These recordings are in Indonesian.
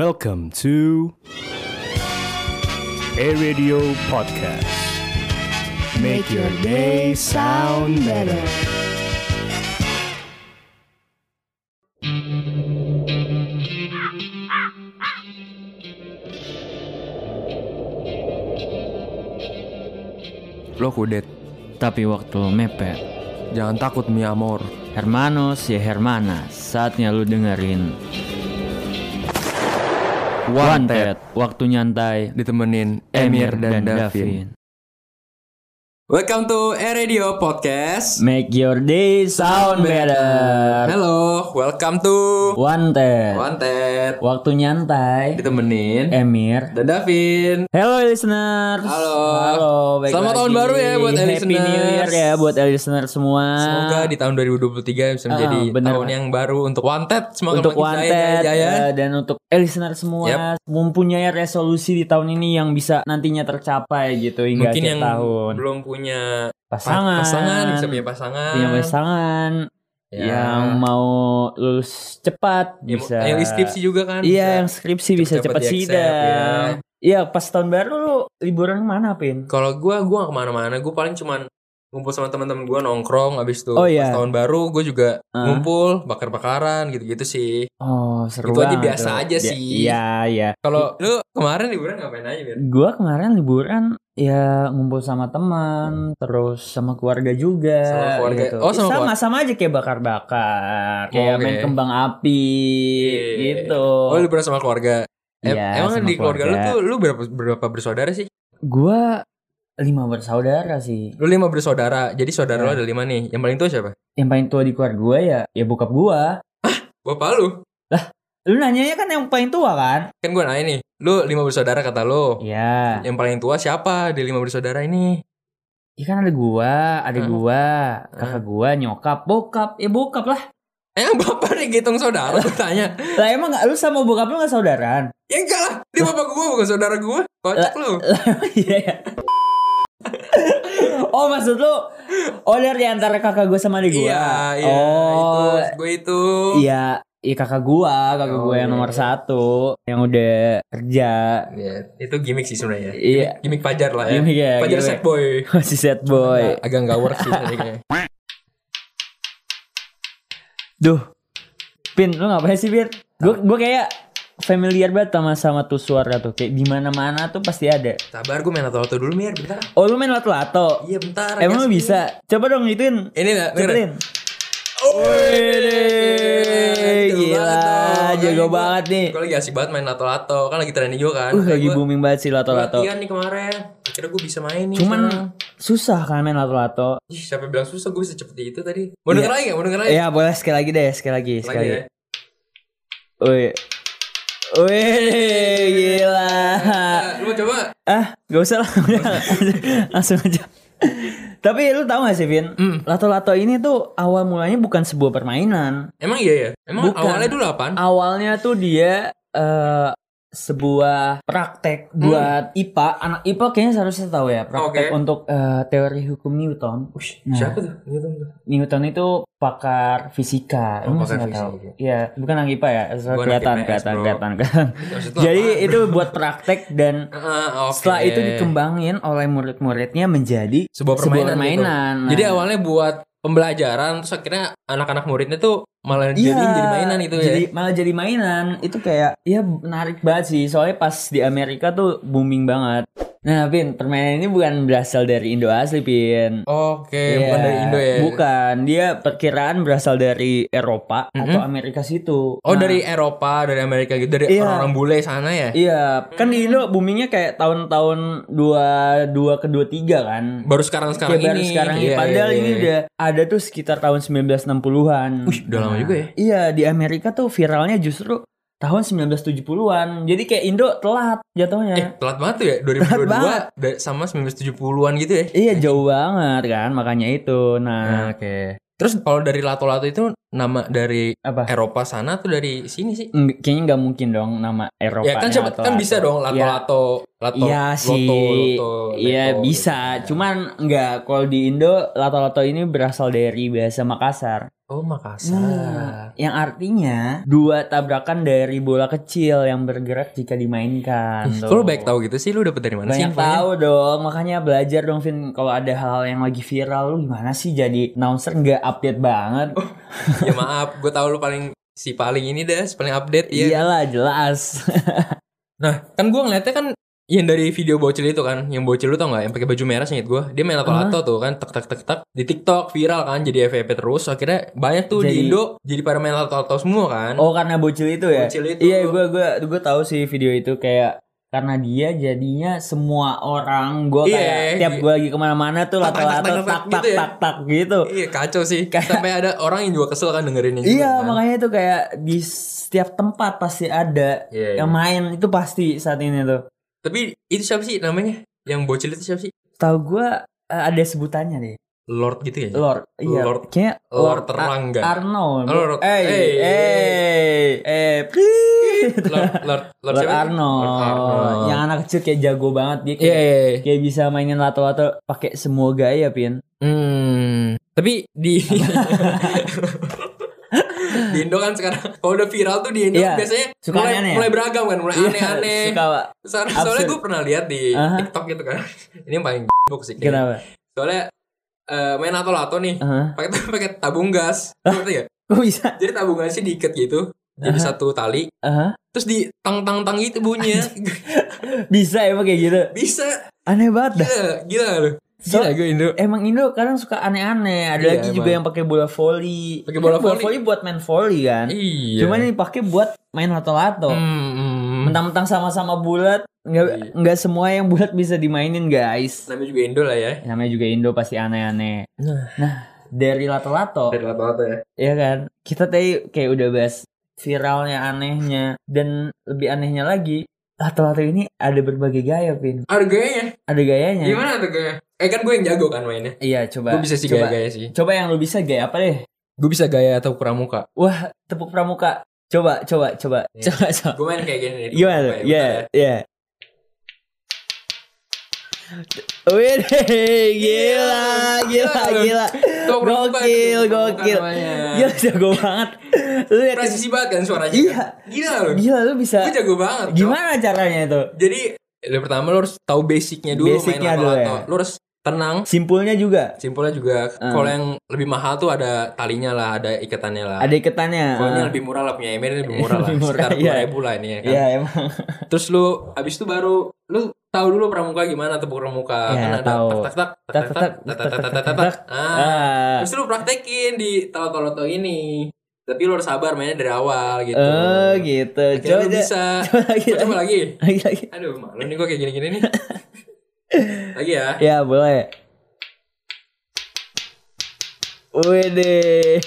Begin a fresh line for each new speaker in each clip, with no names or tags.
Welcome to A Radio Podcast. Make your day sound better.
Lo kudet,
Tapi waktu lo mepet
jangan takut mi amor.
Hermanos ya Hermana Saatnya lu dengerin Wanted Waktu nyantai
Ditemenin Emir dan, Davin. Welcome to Air Radio Podcast.
Make your day sound better
Hello, welcome to
Wanted
Wanted.
Waktu nyantai
Ditemenin
Emir
dan Davin.
Hello listeners
Halo.
Halo baik
Selamat
lagi.
tahun baru ya buat
Happy
listeners.
New Year ya buat listener semua
Semoga di tahun 2023 bisa menjadi
Ah. bener.
tahun yang baru untuk Wanted. Semoga
untuk
makin jaya, ya.
wanted
jaya, jaya.
eh, dan untuk eh, listener semua mempunyai resolusi di tahun ini yang bisa nantinya tercapai gitu hingga
Mungkin
akhir
yang
tahun
belum punya pa-
pasangan
pasangan bisa punya pasangan.
punya pasangan
Ya.
yang mau lulus cepat
Ya,
bisa
Yang skripsi juga kan.
iya
bisa.
yang skripsi bisa
cepet-cepet
cepat
di-accept,
sidang
ya.
iya pas tahun baru lu liburan mana pin
Kalau gua gua gak kemana-mana. Gue paling cuman ngumpul sama teman-teman gua nongkrong abis itu
Oh,
Pas
iya.
tahun baru gue juga
Ah.
ngumpul bakar-bakaran gitu-gitu sih.
oh seru
Itu aja
banget
biasa
tuh.
aja
Dia-
sih.
iya iya
Kalau lu kemarin liburan ngapain aja Mir?
Gua kemarin liburan ya ngumpul sama teman, terus sama keluarga juga.
Sama keluarga.
gitu.
Oh, sama
Eh, sama,
keluarga. Oh,
sama aja kayak bakar-bakar, kayak
Oke.
main kembang api
Iya.
gitu.
Oh liburan sama keluarga. Em-
Iya,
emang
sama
di keluarga,
keluarga.
lu tuh lu berapa berapa bersaudara sih?
Gua lima bersaudara sih.
Lu lima bersaudara. Jadi saudara
Iya.
lu ada lima nih. Yang paling tua siapa?
Yang paling tua di keluarga gua ya ya bokap gua.
Bapak lu.
Lu nanyanya kan yang paling tua kan?
Kan gua nanya nih. Lu lima bersaudara kata lu.
Iya.
Yang paling tua siapa di lima bersaudara ini?
Ya kan ada gua, ada
Hah?
gua, kakak gua, nyokap, bokap. Ya bokap lah.
Eh, Yang bapak dihitung saudara gua tanya.
Lah emang nggak- lu sama bokap lu gak saudaraan?
Ya enggak lah, dia bapak gua bukan saudara gua. Kocak lu.
Iya. ya. oh maksud lu Oh dari antara kakak gue sama adik gue
Iya, iya.
Oh
Itu, gue itu.
iya Iya kakak gue Kakak
Oh,
gue yang
iya,
nomor
iya.
satu Yang udah kerja
Iya, itu gimmick sih sebenarnya.
Iya
Gimmick pajar lah ya.
Gimmick ya,
pajar
gimmick.
set boy. Nah,
Masih sad boy
Agak enggak work sih tadi kayaknya.
Duh Pin lu ngapain sih Pin
Nah.
Gue gue kayak familiar banget sama sama tuh suara tuh kayak di mana mana tuh pasti ada.
Sabar, gue main lato-lato dulu, Mir. Bentar.
Oh lu main lato-lato?
Iya, bentar.
Emang lu
Gas,
bisa? Coba dong gituin.
Mir. Ini lah, Mir.
Cepetin.
Wih,
gila, jago banget nih.
Gue lagi asik banget main lato-lato. Kan lagi trending juga kan.
Uh,
Kayak
lagi
gua-
booming banget sih
gua
lato-lato.
latihan nih kemarin. Akhirnya gue bisa main nih.
Cuman
sekarang.
susah kan main lato-lato.
Ih, siapa yang bilang susah gue bisa cepet itu tadi. Mau denger lagi nggak? Mau denger lagi?
Ya boleh sekali lagi deh, sekali lagi,
Lagi
sekali.
ya.
Wih. Wih, gila.
Eh, Lu mau coba?
Ah, gak usah lah, udah, langsung aja. Tapi lu tahu gak sih, Vin? Lato-lato ini tuh awal mulanya bukan sebuah permainan.
Emang iya ya? Emang
Bukan. Ah.
awalnya dulu apaan?
Awalnya tuh dia eh sebuah praktek buat IPA. Anak IPA kayaknya seharusnya tahu ya,
Hmm.
praktek
Oke.
untuk eh, teori hukum Newton.
Ush,
Nah.
Siapa tuh? Iya, Newton tuh.
Newton itu pakar fisika.
Oh,
Lu masih
pakar
nggak tahu?
fisika.
Iya, bukan anak IPA ya. So,
Gua anak
kelihatan,
IPS,
kelihatan,
bro.
kelihatan, kelihatan.
Maksud lu
Jadi
apaan?
itu buat praktek dan
Heeh, oke.
setelah itu dikembangin oleh murid-muridnya menjadi
sebuah permainan. gitu.
permainan. Nah,
Jadi awalnya buat pembelajaran terus akhirnya anak-anak muridnya tuh malah jadi
Iya,
jadi mainan gitu ya.
jadi, malah jadi mainan itu kayak ya menarik banget sih soalnya pas di Amerika tuh booming banget nah Pin permainan ini bukan berasal dari Indo asli Pin
Oke,
Iya,
bukan dari Indo ya.
Bukan, dia perkiraan berasal dari Eropa atau
Mm-mm.
Amerika situ.
Oh,
Nah,
dari Eropa, dari Amerika gitu, dari
Iya.
orang-orang bule sana ya.
Iya, kan di Indo boomingnya kayak tahun-tahun 22 ke 23 kan.
Baru sekarang-sekarang
Kayak baru
ini.
sekarang ini.
Iya,
Padahal
iya,
ini
iya.
udah ada tuh sekitar tahun 1960-an.
Wih, udah lama juga ya.
Iya, di Amerika tuh viralnya justru tahun 1970-an. Jadi kayak Indo telat jatuhnya.
Eh, telat banget tuh ya 2022 da- sama 1970-an gitu ya.
Iya jauh banget kan makanya itu. Nah,
Ah, Nah, Terus kalau dari lato-lato itu nama dari
Apa?
Eropa sana tuh dari sini sih?
Ng- Kayaknya nggak mungkin dong nama Eropa.
ya kan siapa kan bisa dong
Iya
lato-lato, lato,
Iya sih.
loto, loto,
Iya
leto,
bisa.
gitu.
Cuman nggak kalau di Indo lato-lato ini berasal dari bahasa Makassar.
Oh, Makassar.
Nah, yang artinya dua tabrakan dari bola kecil yang bergerak jika dimainkan.
Ih,
tuh.
Hmm. Kok lu baik tahu gitu sih? Lu dapet dari mana sih
Banyak
infonya?
tahu dong, makanya belajar dong Vin. Kalau ada hal-hal yang lagi viral, lu gimana sih jadi announcer nggak update banget?
ya maaf, gue tahu lu paling si paling ini deh, si paling update ya.
Iyalah jelas.
Nah, kan gue ngeliatnya kan yang dari video bocil itu kan, yang bocil lu tau gak, yang pakai baju merah sengit gue, dia main lato-lato tuh kan, tek tek tek tek, di TikTok viral kan, jadi FVP terus, akhirnya banyak tuh
Jadi-
di Indo, jadi pada main lato-lato semua kan.
oh karena bocil itu ya?
Bocil itu.
Iya, gue gue gue tahu sih video itu kayak karena dia jadinya semua orang gue
Iya,
kayak tiap
iya.
gue lagi kemana-mana tuh
Tak, tak, tak,
lato-lato
tak, tak,
tak tak
gitu ya.
tak tak gitu.
Iya kacau sih, sampai ada orang yang juga kesel kan dengerinnya juga
Iya
kan.
makanya itu kayak di setiap tempat pasti ada
Iya, iya.
yang main itu pasti saat ini tuh.
Tapi itu siapa sih namanya? Yang bocil itu siapa sih?
Tahu gue eh, ada sebutannya deh.
Lord gitu ya?
Lord, iya.
Lord-
Kayaknya
Lord
Ar-
Rangga.
Arnold.
Lord-
eh,
eh,
eh, eh,
Lord, Lord, Lord,
Lord
siapa?
Arnold. Ya.
Lord Arnold.
Yang anak kecil kayak jago banget dia
Iya,
kayak,
iya, iya.
kayak bisa mainin lato-lato pakai semua gaya, Pin.
Hmm, tapi di di Indo kan sekarang kalau udah viral tuh di Indo
Iya,
biasanya
suka
mulai,
aneh-aneh ya?
mulai beragam kan, mulai aneh-aneh.
Suka Pak.
Soalnya, soalnya
Absurd.
gue pernah lihat di
Aha.
TikTok gitu kan. Ini yang paling bok sih. kayaknya.
Kenapa?
Soalnya eh, main lato-lato nih.
Heeh.
Pakai pakai tabung gas. Ngerti nggak?
Kok bisa?
Jadi tabung gasnya diikat gitu. Jadi satu tali.
Aha.
Terus di tang tang tang gitu bunyinya.
Bisa emang kayak gitu.
Bisa.
Aneh banget dah.
Gila, gila lu.
So-
Gila gue Indo.
Emang Indo kadang suka aneh-aneh. Ada
Iya,
lagi
emang.
juga yang pakai bola volley.
Pakai bola
Kan
volley.
buat main volley kan.
Iya.
Cuman ini pakai buat main lato-lato.
Hmm, hmm.
Mentang-mentang sama-sama bulat,
Iya.
nggak nggak semua yang bulat bisa dimainin, guys.
Namanya juga Indo lah ya.
Namanya juga Indo pasti aneh-aneh.
Nah.
Dari lato-lato,
Dari lato-lato ya.
ya kan? Kita tadi kayak udah bahas viralnya anehnya dan lebih anehnya lagi lato-lato ini ada berbagai gaya, Pin.
Harganya
Ada gayanya.
Gimana tuh gaya? Eh kan gue yang jago kan mainnya.
Iya, coba.
Gue bisa sih
coba,
gaya-gaya sih.
Coba yang lu bisa gaya apa deh?
Gue bisa gaya atau pramuka.
Wah, tepuk pramuka. Coba, coba, coba.
Iya.
Coba, coba.
Gue main kayak gini. nih. ya.
Gimana
Bentar
tuh? Iya, iya. Wih, gila, gila, gila.
Tepuk pramuka
Gokil,
itu, tepuk
gokil.
pramuka namanya.
Gila, jago banget. Lu
bentar.
lihat
Presisi banget kan suaranya.
Iya.
kan? Gila lu.
Gila, lu bisa.
Gue jago banget. Cok.
Gimana caranya itu?
Jadi yang pertama lu harus tahu basicnya dulu
Basicnya
main
dulu
lato-lato.
ya. Ah.
Lu harus tenang.
Simpulnya juga.
Simpulnya juga kalau yang lebih mahal tuh ada talinya lah, ada ikatannya lah.
Ada iketannya.
Kalau ini
ah.
lebih murah lah punya Emir lebih murah lah.
Lebih murah,
Sekitar
iya.
2000 lah ini ya kan.
Iya, emang.
Terus lu abis itu baru lu tahu dulu pramuka gimana tepuk pramuka
Ya,
kan ada
tahu.
tak tak tak tak tak tak tak tak tak tak tak tak. Ah,
Ah.
Terus lu praktekin di tato-tato ini. Tapi lu harus sabar mainnya dari awal gitu.
Eh, gitu.
Akhirnya lu
Coba,
bisa.
coba lagi, eh.
Lu Coba lagi.
lagi, lagi.
Aduh, malu nih gua kayak gini-gini nih. lagi ya.
Ya boleh. Wede.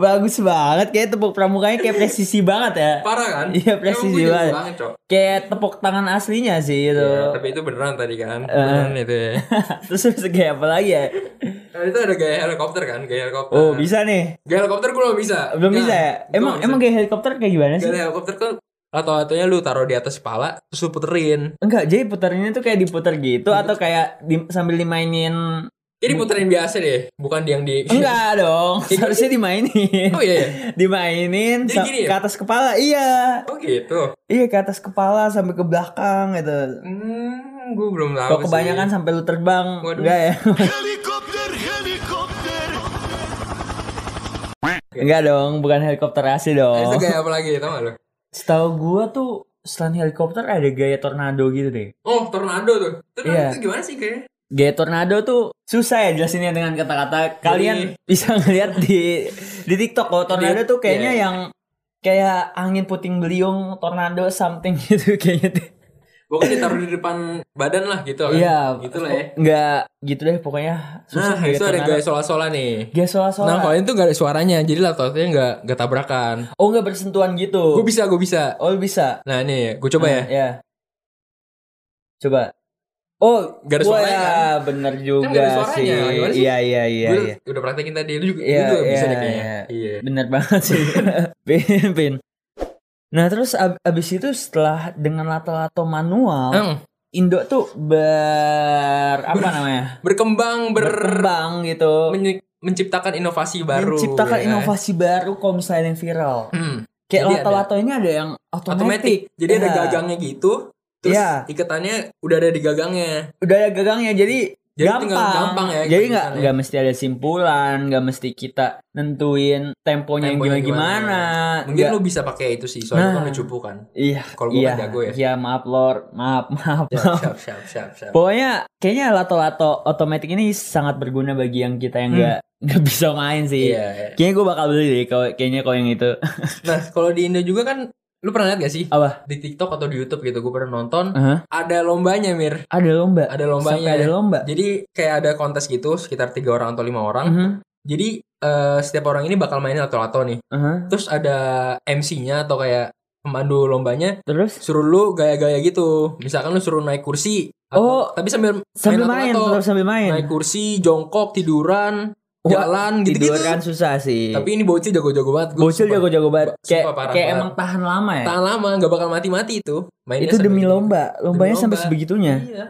Bagus banget kayak tepuk pramukanya kayak presisi banget ya.
Parah kan? Emang
Iya,
gua
presisi
jago
banget.
Cok.
Kayak tepuk tangan aslinya sih itu.
Ya, tapi itu beneran tadi kan.
Eh.
Beneran itu ya.
Terus bisa kayak apa lagi ya?
Nah, itu ada gaya helikopter kan, gaya helikopter.
Oh, bisa nih.
Gaya helikopter gua belum bisa.
Belum
Nah,
bisa ya?
gua belum
Emang
bisa.
emang kayak helikopter kayak gimana sih?
Gak ada helikopter kan lato-latonya lu taruh di atas kepala terus lu puterin.
Enggak, jadi putarinnya tuh kayak diputar gitu atau kayak di- sambil dimainin
Ini puterin biasa deh, bukan yang di
Enggak dong,
Kayak
harusnya dimainin.
Oh iya. iya.
Dimainin
Jadi
sa-
gini ya?
ke atas kepala. Iya.
Oh gitu.
Iya ke atas kepala sampai ke belakang gitu.
Hmm, gue belum tahu.
Kalau
sih.
kebanyakan sampai lu terbang,
Waduh.
enggak ya? enggak dong, bukan helikopter asli
Nah, Itu
dong.
gaya apa lagi tau gak lu?
Setahu gua tuh selain helikopter ada gaya tornado gitu deh.
Oh, tornado tuh. Tornado
Iya.
itu gimana sih kayaknya?
Gaya tornado tuh susah ya jelasinnya dengan kata-kata. Kalian bisa ngeliat di di TikTok kalau tornado tuh kayaknya
Iya.
yang kayak angin puting beliung tornado something gitu kayaknya deh.
Pokoknya ditaruh di depan badan lah gitu kan.
Iya, gitu
Gitu lah ya.
Enggak gitu deh pokoknya.
Nah, itu ada
tornado.
gaya sola-sola nih.
Gaya soal-soal.
Nah, kalau itu gak ada suaranya, jadi lato-latonya gak, gak tabrakan.
Oh nggak bersentuhan gitu.
Gue bisa, gue bisa.
Oh bisa.
ya? Nah, nih, gue coba ya.
Ya. Coba. Oh,
Gak ada
wah,
suaranya kan?
bener
Kan gak ada
juga
suaranya,
sih.
gimana sih?
Iya, iya, iya,
Gue
iya.
udah praktekin tadi lu juga, lu
Iya,
juga bisa
iya,
deh kayaknya.
iya.
Iya.
Bener banget sih. Pin, pin. Nah, terus ab- abis itu setelah dengan lato-lato manual,
Eng,
Indo tuh ber apa namanya?
berkembang ber
Berkembang gitu.
menyi- menciptakan inovasi baru.
menciptakan
ya kan?
inovasi baru kalau misalnya yang viral.
Hmm,
Kayak
Jadi
lato-lato ini ada yang otomatis.
otomatis. Jadi ada
Iya.
gagangnya gitu. Terus
Iya.
ikatannya udah ada di gagangnya.
Udah ada gagangnya jadi
Jadi
gampang.
tinggal gampang ya.
jadi nggak
ikutannya.
nggak mesti ada simpulan, nggak mesti kita nentuin temponya,
Temponya
gimana gimana.
Mungkin
Nggak-
lu bisa pakai itu sih, soalnya
iya. Nah.
kan cupu kan.
iya.
kalau gua
iya,
kan jago ya.
Iya, maaf Lor, maaf, maaf.
Siap, siap, siap, siap. siap.
Pokoknya kayaknya lato-lato otomatis ini sangat berguna bagi yang kita yang nggak nggak bisa main sih.
Hmm. Iya. iya.
Kayaknya gue bakal beli deh kalau kayaknya kalau yang itu.
Nah, kalau di Indo juga kan lu pernah lihat gak sih
Apa?
di TikTok atau di YouTube gitu? Gue pernah nonton
Hah?
ada lombanya, Mir.
Ada lomba.
Ada lombanya. ya?
Sampai ada lomba.
Jadi kayak ada kontes gitu sekitar tiga orang atau lima orang.
Mhm,
Jadi eh, setiap orang ini bakal mainin lato-lato nih.
aha.
Terus ada MC-nya atau kayak pemandu lombanya
Terus
suruh lu gaya-gaya gitu. Misalkan lu suruh naik kursi.
Oh.
atau- tapi sambil
sambil main,
lato-lato.
terus sambil main.
naik kursi, jongkok, tiduran,
Wah,
jalan gitu-gitu.
Tidur kan susah sih.
Tapi ini bocil jago-jago banget. Gua
bocil
sumpah.
jago-jago banget.
Sumpah,
Kayak
parah,
kayak
parah.
emang tahan lama ya.
Tahan lama, nggak bakal mati-mati itu. Mainnya
itu
sampai
demi
gitu.
lomba. Lombanya
Demi
sampai
lomba.
sebegitunya.
Iya.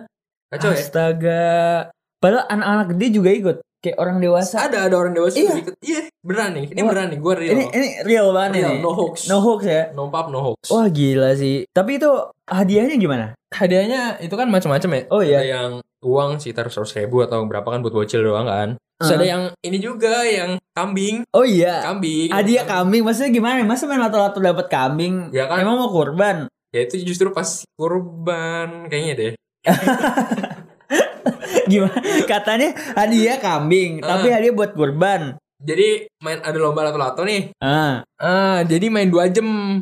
Kacau ya.
Astaga. Padahal anak-anak gede juga ikut. Kayak orang dewasa.
Ada ada orang dewasa
Iya.
yang ikut. Iya, beneran nih. Ini
Wah.
beneran nih, gue real.
Ini ini real banget
real,
ini.
no hoax.
No hoax ya.
No pub, no hoax.
Wah gila sih. Tapi itu hadiahnya gimana?
hadiahnya itu kan macam-macam ya.
Oh
Ada
iya.
yang uang sekitar 100 ribu atau berapa kan buat bocil doang kan. Terus
Uh.
ada yang ini juga yang kambing,
Oh iya.
kambing.
Hadiah kambing maksudnya gimana? Masa main lato-lato dapat kambing?
Ya kan.
Emang mau kurban?
Ya itu justru pas kurban kayaknya deh.
Gimana? Katanya hadiah kambing,
Ah.
tapi hadiah buat kurban.
Jadi main ada lomba lato-lato nih.
Ah.
Ah, jadi main 2 jam.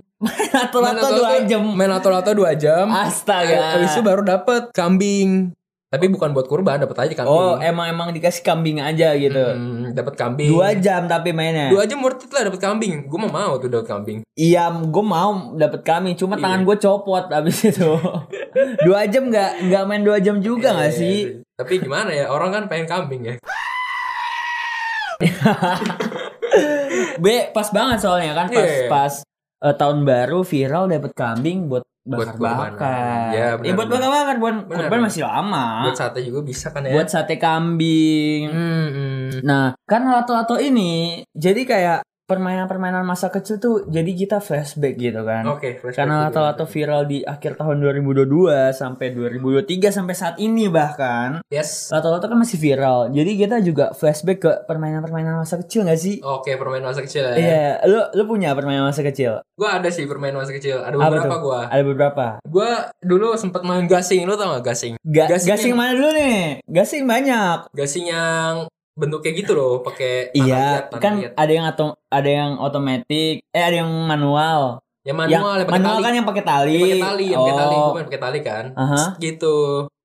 Lato-lato
Main
dua jam.
Main lato-lato 2 jam.
Astaga.
Habis itu baru dapet kambing. Ah, eh, Tapi bukan buat kurban, dapet aja kambing.
Oh, emang emang dikasih kambing aja gitu.
Hmm, dapet kambing.
Dua jam tapi mainnya.
Dua jam worth it lah dapet kambing. Gue mau mau tuh dapet kambing.
Iya, gue mau dapat kambing, cuma
Iya.
tangan gue copot abis itu. dua jam nggak nggak main dua jam juga nggak
Iya,
sih?
iya. Tapi gimana ya, orang kan pengen kambing ya.
B pas banget soalnya kan pas
Iya.
pas eh, tahun baru viral dapat kambing buat
Buat
bakar-bakar.
kurbanan. Iya,
Eh, buat
benar-benar.
bakar-bakar buat
Benar,
kurban
benar.
masih lama.
Buat sate juga bisa kan ya.
Buat sate kambing.
Hmm, hmm.
Nah, kan lato-lato ini jadi kayak permainan-permainan masa kecil tuh jadi kita flashback gitu kan.
Oke, flashback dulu.
Karena lato-lato viral di akhir tahun 2022 sampai 2023 sampai saat ini bahkan
Yes.
lato-lato kan masih viral. Jadi kita juga flashback ke permainan-permainan masa kecil gak sih?
Oke, permainan masa kecil ya.
Iya, lu lu punya permainan masa kecil?
Gue ada sih permainan masa kecil. Ada
Apa
beberapa
tuh?
gue.
Ada beberapa.
Gue dulu sempet main gasing, lo tau gak gasing?
Ga-
Gasing
gasing, mana dulu nih? Gasing banyak.
Gasing yang bentuknya gitu loh, pakai tanah liat,
Iya,
tanah
kan
liat.
ada yang atom, ada yang otomatis, eh ada yang manual.
yang Ya, manual,
yang,
yang, pakai
manual
tali.
kan yang pakai tali.
pakai tali, yang pakai tali,
Oh,
gue main pakai tali kan.
Aha.
Gitu.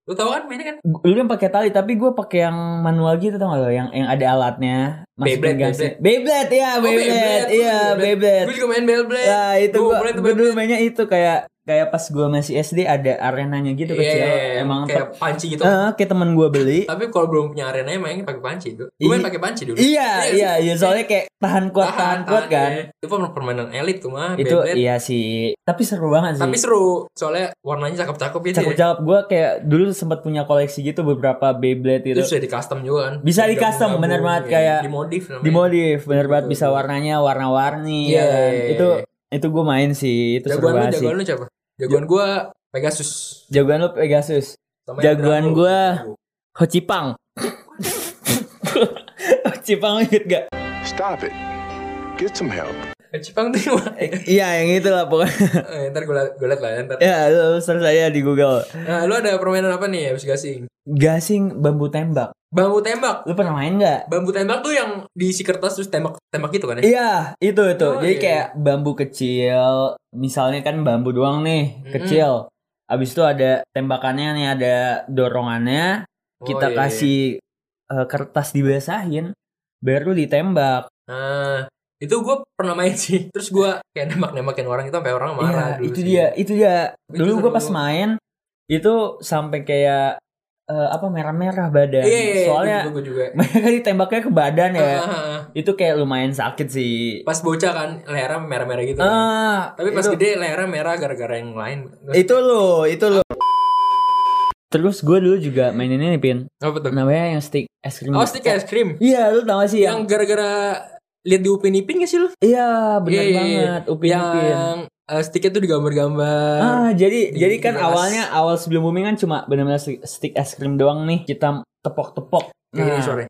Lu tau kan mainnya kan?
Gua- Lu yang pakai tali tapi gue pakai yang manual gitu tau gak lo yang yang ada alatnya
Beyblade,
masukin gasing. Beyblade ya
Oh,
Beyblade,
Beyblade.
iya
Beyblade.
Beyblade
Gue juga main Beyblade.
ya itu
Gua
gue
boleh tuh
dulu mainnya itu kayak kayak pas gue masih SD ada arenanya gitu
Iya,
kecil
iya, iya.
emang Ah.
kayak
kayak,
panci gitu.
kayak temen gue beli
Tapi kalau belum punya arenanya mainnya pakai panci. Gue Gua main
Iya.
pakai panci dulu.
iya
Iya,
iya iya soalnya kayak tahan kuat tahan, kuat kan
iya. Itu permainan elit tuh mah.
itu
Beyblade.
iya sih tapi seru banget sih
Tapi seru, soalnya warnanya cakep-cakep gitu.
cakep
ya.
cakep gue kayak dulu sempat punya koleksi gitu beberapa Beyblade
Itu
gitu
sudah di custom juga kan.
Bisa di custom,
Digabung-gabung,
bener banget,
ya.
kayak
dimodif namanya.
dimodif bener banget
Betul,
bisa
betul.
warnanya warna-warni
Iya,
ya kan.
iya, iya,
itu
iya.
itu gue main sih itu seru
Jagoan lu,
banget sih
jagoan lu siapa? Jagoan gua Pegasus.
jagoan lu Pegasus
Sama
Jagoan
Drago.
gua- Ho Chi Pang Ho Chi Pang lu inget gak
Stop it. Get some help.
Eh, Cipang tuh yang mana?
iya yang itu lah pokoknya
Eh, ntar gue liat, gua liat lah ya, ntar.
ya lu search aja di Google
Nah, lu ada permainan apa nih habis gasing?
gasing bambu tembak
Bambu tembak.
lu pernah main nggak
Bambu tembak tuh yang diisi kertas terus tembak tembak gitu kan ya?
Iya, itu itu.
Oh,
Jadi
iya.
kayak bambu kecil, misalnya kan bambu doang nih, kecil. Habis itu ada tembakannya nih, ada dorongannya,
Oh,
kita
iya,
kasih eh, kertas dibasahin, baru ditembak.
iya. Ah, itu gue pernah main sih. Terus gue kayak nembak-nembakin orang itu sampai orang marah
Iya,
dulu
itu
sih.
dia, itu dia.
Itu
Dulu gue
seru.
pas main itu sampai kayak eh, apa merah-merah badan.
Iya, iya, iya,
Soalnya
gua juga, gua juga.
mereka ditembaknya ke badan ya.
Ah, ah, ah.
itu kayak lumayan sakit sih.
Pas bocah kan lehernya merah-merah gitu. kan.
Ah,
Tapi pas
itu,
gede lehernya merah gara-gara yang lain.
itu lo, itu lo.
Ah.
Terus gue dulu juga mainin ini Pin.
Apa tuh?
Namanya yang stick es krim.
Oh, stick es krim.
Iya, lu tau gak sih yang
Yang gara-gara lihat di Upin Ipin gak sih lu?
Iya, benar
Iya, iya, iya.
banget. Upin Ipin.
Yang eh, sticknya tuh digambar-gambar.
Ah,
Di
jadi jadi kan
gelas.
awalnya awal sebelum booming kan cuma benar-benar stick, stick es krim doang nih kita tepok-tepok.
Kayak gini
Nah,
sore. Iya,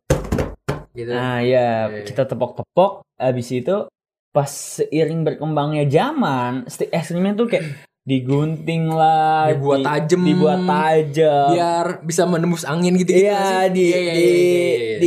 Gitu.
nah ya
Iya, iya.
kita tepok-tepok. Abis itu pas seiring berkembangnya zaman, stick es krimnya tuh kayak digunting lah,
Dibuat
di-
tajem.
dibuat tajam.
biar bisa menembus angin gitu gitu
Iya di di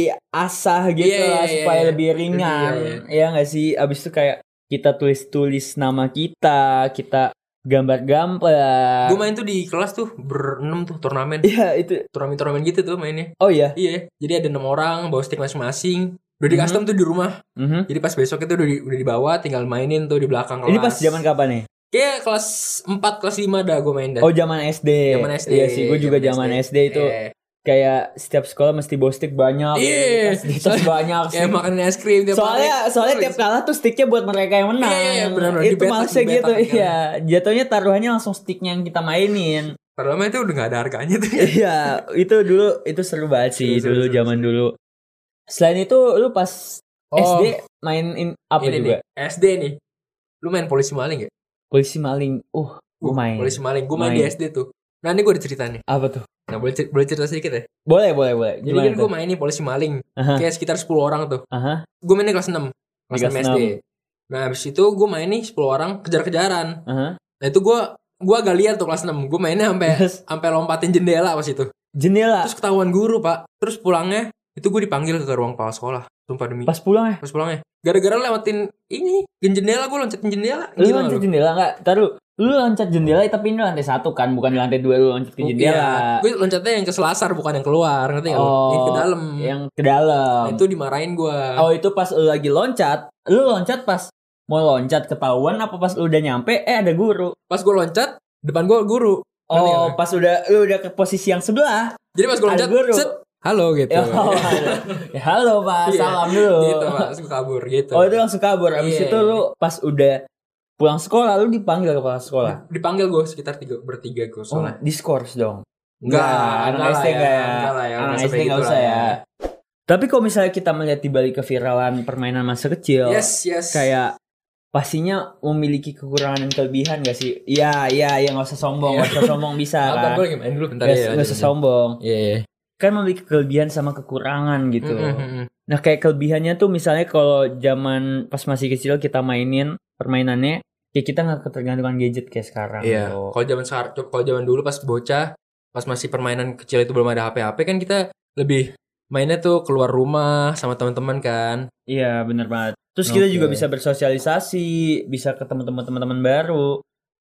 diasah gitu
Iya, iya,
lah
iya,
supaya
iya.
lebih ringan.
Iya,
Ya nggak sih? Abis itu kayak kita tulis-tulis nama kita, kita gambar-gambar.
gue main tuh di kelas tuh berenam tuh turnamen
Iya itu.
turnamen turnamen gitu tuh mainnya
Oh iya.
iya jadi ada enam orang bawa stick masing-masing udah di
Mhm.
custom tuh di rumah
Mhm.
jadi pas besok itu udah, di, udah dibawa tinggal mainin tuh di belakang kelas
Ini pas zaman kapan nih?
kayak kelas 4 kelas 5 dah gue main dah
Oh zaman SD.
Zaman SD,
Iya sih, gue juga zaman
zaman
SD, itu
Eh,
kayak setiap sekolah mesti bawa stick banyak.
Iya.
Stick terus
Soalnya-
banyak.
kayak
stick.
makan es krim tiap
soalnya
hari.
soalnya tiap kalah tuh sticknya buat mereka yang menang.
Iya, iya, iya, benar-benar.
Itu
Dibetak,
maksudnya
dibetak
gitu.
kan.
Iya, jatuhnya taruhannya langsung sticknya yang kita mainin.
Padahal mah itu udah gak ada harganya tuh
Iya, itu dulu itu seru banget
Seru,
sih
seru,
dulu
seru,
zaman dulu. Selain itu lu pas
Oh,
SD main in, apa
ini nih
juga?
SD nih lu main polisi maling gak?
Polisi maling. Uh, gue main.
polisi maling gue main, di
Main.
SD tuh nah ini gue ada cerita nih
Apa tuh?
nah boleh cer- boleh cerita sedikit ya
Boleh, boleh, boleh.
Jadi
Gimana
kan
tuh?
gue main nih polisi maling
Aha.
Kayak sekitar 10 orang tuh
Aha.
Gue mainnya kelas 6 Kelas
Kelas
6 SD Nah habis itu gue main nih 10 orang kejar-kejaran
Aha.
Nah itu gue Gue agak liar tuh kelas 6 Gue mainnya sampai
Terus
sampai lompatin jendela pas itu
jendela
Terus ketahuan guru pak Terus pulangnya Itu gue dipanggil ke ruang kepala sekolah Sumpah demi
pas pulang ya?
Terus pulangnya Gara-gara lewatin ini Jendela gue loncatin jendela
Lu
Gila
loncat
lu
jendela enggak? Taruh. Lu loncat jendela ya, tapi ini lantai satu kan,
Iya.
bukan di lantai dua lu loncat
Oh,
ke jendela.
Gue loncatnya yang ke selasar bukan yang keluar Ngerti gak iya. lu?
Oh,
Yang ke dalam
Yang ke
Nah,
dalam.
itu dimarahin gue
Oh, itu pas lu lagi loncat, lu loncat pas mau loncat ketahuan apa pas lu udah nyampe eh ada guru.
Pas gue loncat Depan gue guru Ngerti
Oh,
nggak?
pas udah lu udah ke posisi yang sebelah.
Jadi pas gue
Ada
loncat,
guru.
set, halo gitu.
Ya, ya, halo Pak,
Iya.
salam dulu.
gitu pak, langsung kabur gitu.
Oh, itu langsung kabur. Abis
Iya.
itu lu pas udah pulang sekolah lu dipanggil kepala sekolah.
Dipanggil gue sekitar tiga bertiga gue
Oh,
soalnya.
diskors dong. Iya,
Enggak,
anak
enggak lah
SD
ya,
enggak
enggak
ya.
lah ya,
Anak
enggak
SD
sampai
enggak
gitu
usah
lah
ya.
ya.
Tapi kalau misalnya kita melihat di balik keviralan permainan masa kecil,
Yes, yes.
kayak pastinya memiliki kekurangan dan kelebihan gak sih? Iya, iya, ya nggak usah sombong, nggak usah sombong bisa
Apa
kan?
gue lagi main dulu bentar ya.
Nggak usah
lanjutin.
sombong.
Iya, iya.
Kan memiliki kelebihan sama kekurangan gitu.
Mm, mm, mm.
Nah kayak kelebihannya tuh misalnya kalau zaman pas masih kecil kita mainin permainannya kayak kita nggak ketergantungan gadget kayak sekarang.
Iya.
loh.
Kalau zaman sekarang, kalau zaman dulu pas bocah, pas masih permainan kecil itu belum ada HP-HP kan kita lebih mainnya tuh keluar rumah sama teman-teman kan.
Iya bener banget. Terus kita
Oke.
juga bisa bersosialisasi, bisa ketemu teman teman-teman baru.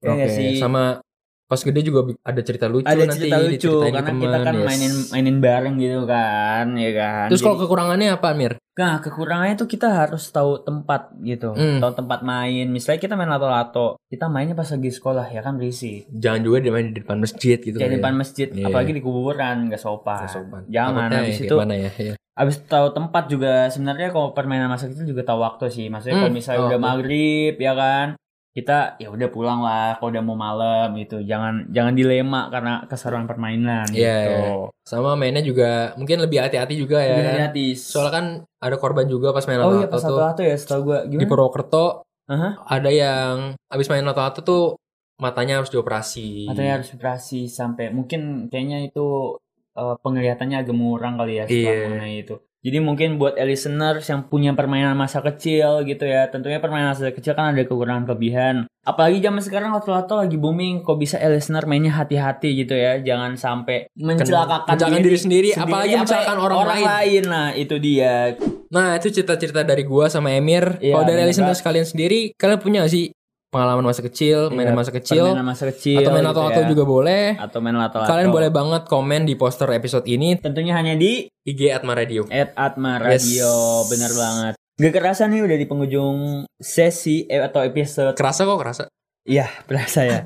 Ya nggak sih?
Sama pas gede juga bi- ada cerita lucu
Ada
nanti
cerita lucu
diceritain ke
karena
temen,
kita kan
yes.
mainin mainin bareng gitu kan, ya kan.
Terus kalau
Jadi-
kekurangannya apa Mir?
nah kekurangannya tuh kita harus tahu tempat gitu,
Hmm.
tahu tempat main. Misalnya kita main lato-lato, kita mainnya pas lagi sekolah ya kan berisik.
jangan juga dia main di depan masjid gitu
kayak
kan
di
ya.
depan masjid
Iya.
apalagi di kuburan nggak sopan.
Nggak sopan.
jangan
Takutnya
habis
kayak
itu
mana ya Iya.
habis tahu tempat juga sebenarnya kalau permainan masa kecil juga tahu waktu sih maksudnya kalau
Hmm,
misalnya
tahu
udah
waktu.
maghrib ya kan kita ya udah pulang lah kalau udah mau malam gitu jangan jangan dilema karena keseruan permainan
Iya,
gitu
iya. sama mainnya juga mungkin lebih hati-hati juga ya
Lebih
kan?
hati-hati.
soalnya kan ada korban juga pas main
oh iya
lato-lato
pas satu
tuh
lato ya setahu gua
di
gimana
Purwokerto
Aha.
ada yang abis main lato-lato tuh matanya harus dioperasi
Katanya ya harus operasi sampai mungkin kayaknya itu eh, penglihatannya agak mengurang kali
Iya.
ya setelah mengenai itu. Jadi mungkin buat listeners yang punya permainan masa kecil gitu ya, tentunya permainan masa kecil kan ada kekurangan kelebihan. Apalagi zaman sekarang lato-lato lagi booming, kok bisa eh, listener mainnya hati-hati gitu ya, jangan sampai mencelakakan
mencelakakan diri sendiri, apalagi
apa-
mencelakakan orang lain.
Nah itu dia.
nah itu cerita-cerita dari gua sama Emir
Iya,
kalau dari
bener
listeners
banget.
kalian sendiri kalian punya gak sih pengalaman masa kecil mainan
Iya,
masa kecil
Permainan masa kecil.
atau main
gitu
lato-lato
ya.
juga boleh
Atau main lato-lato.
kalian boleh banget komen di poster episode ini
Tentunya hanya di
IG Atma Radio
At Atma
Yes.
Radio, bener banget. Gak kerasa nih udah di penghujung sesi eh, atau episode,
kerasa kok kerasa
iya berasa ya.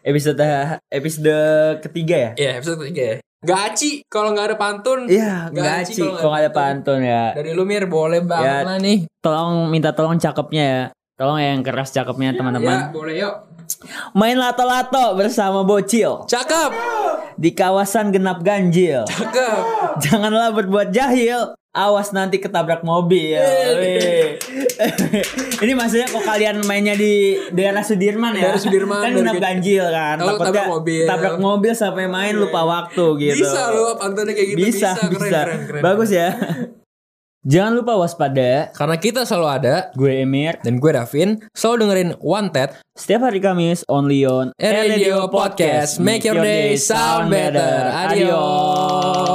episode episode ketiga ya.
Iya episode ketiga ya Gaci kalau nggak ada pantun.
Iya,
Nggak
gaci
sih kalau
kalau nggak ada pantun ya.
Dari lu Mir boleh banget
Ya,
lah nih.
Tolong minta tolong cakepnya ya. Tolong yang keras cakepnya teman-teman.
Ya, boleh yuk.
Main lato-lato bersama bocil
Cakep.
di kawasan genap ganjil.
Cakep.
Janganlah berbuat jahil. Awas nanti ketabrak mobil. Wih. Ini maksudnya kok kalian mainnya di daerah Sudirman ya?
Daerah Sudirman,
Kan
daerah
genap
Gajah.
ganjil kan.
Kalau
Takutnya
tabrak mobil. Iya.
Tabrak mobil sampai main lupa waktu gitu.
Bisa lu pantunnya kayak gitu
bisa,
bisa, Keren,
bisa.
keren, keren.
Bagus ya. Jangan lupa waspada.
Karena kita selalu ada
Gue Emir.
dan gue Davin selalu dengerin Wanted
Setiap hari Kamis only on
Eh, Radio Podcast. Make your day sound better. Adios.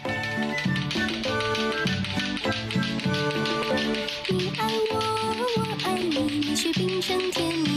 你爱我，我爱你，你是冰城甜蜜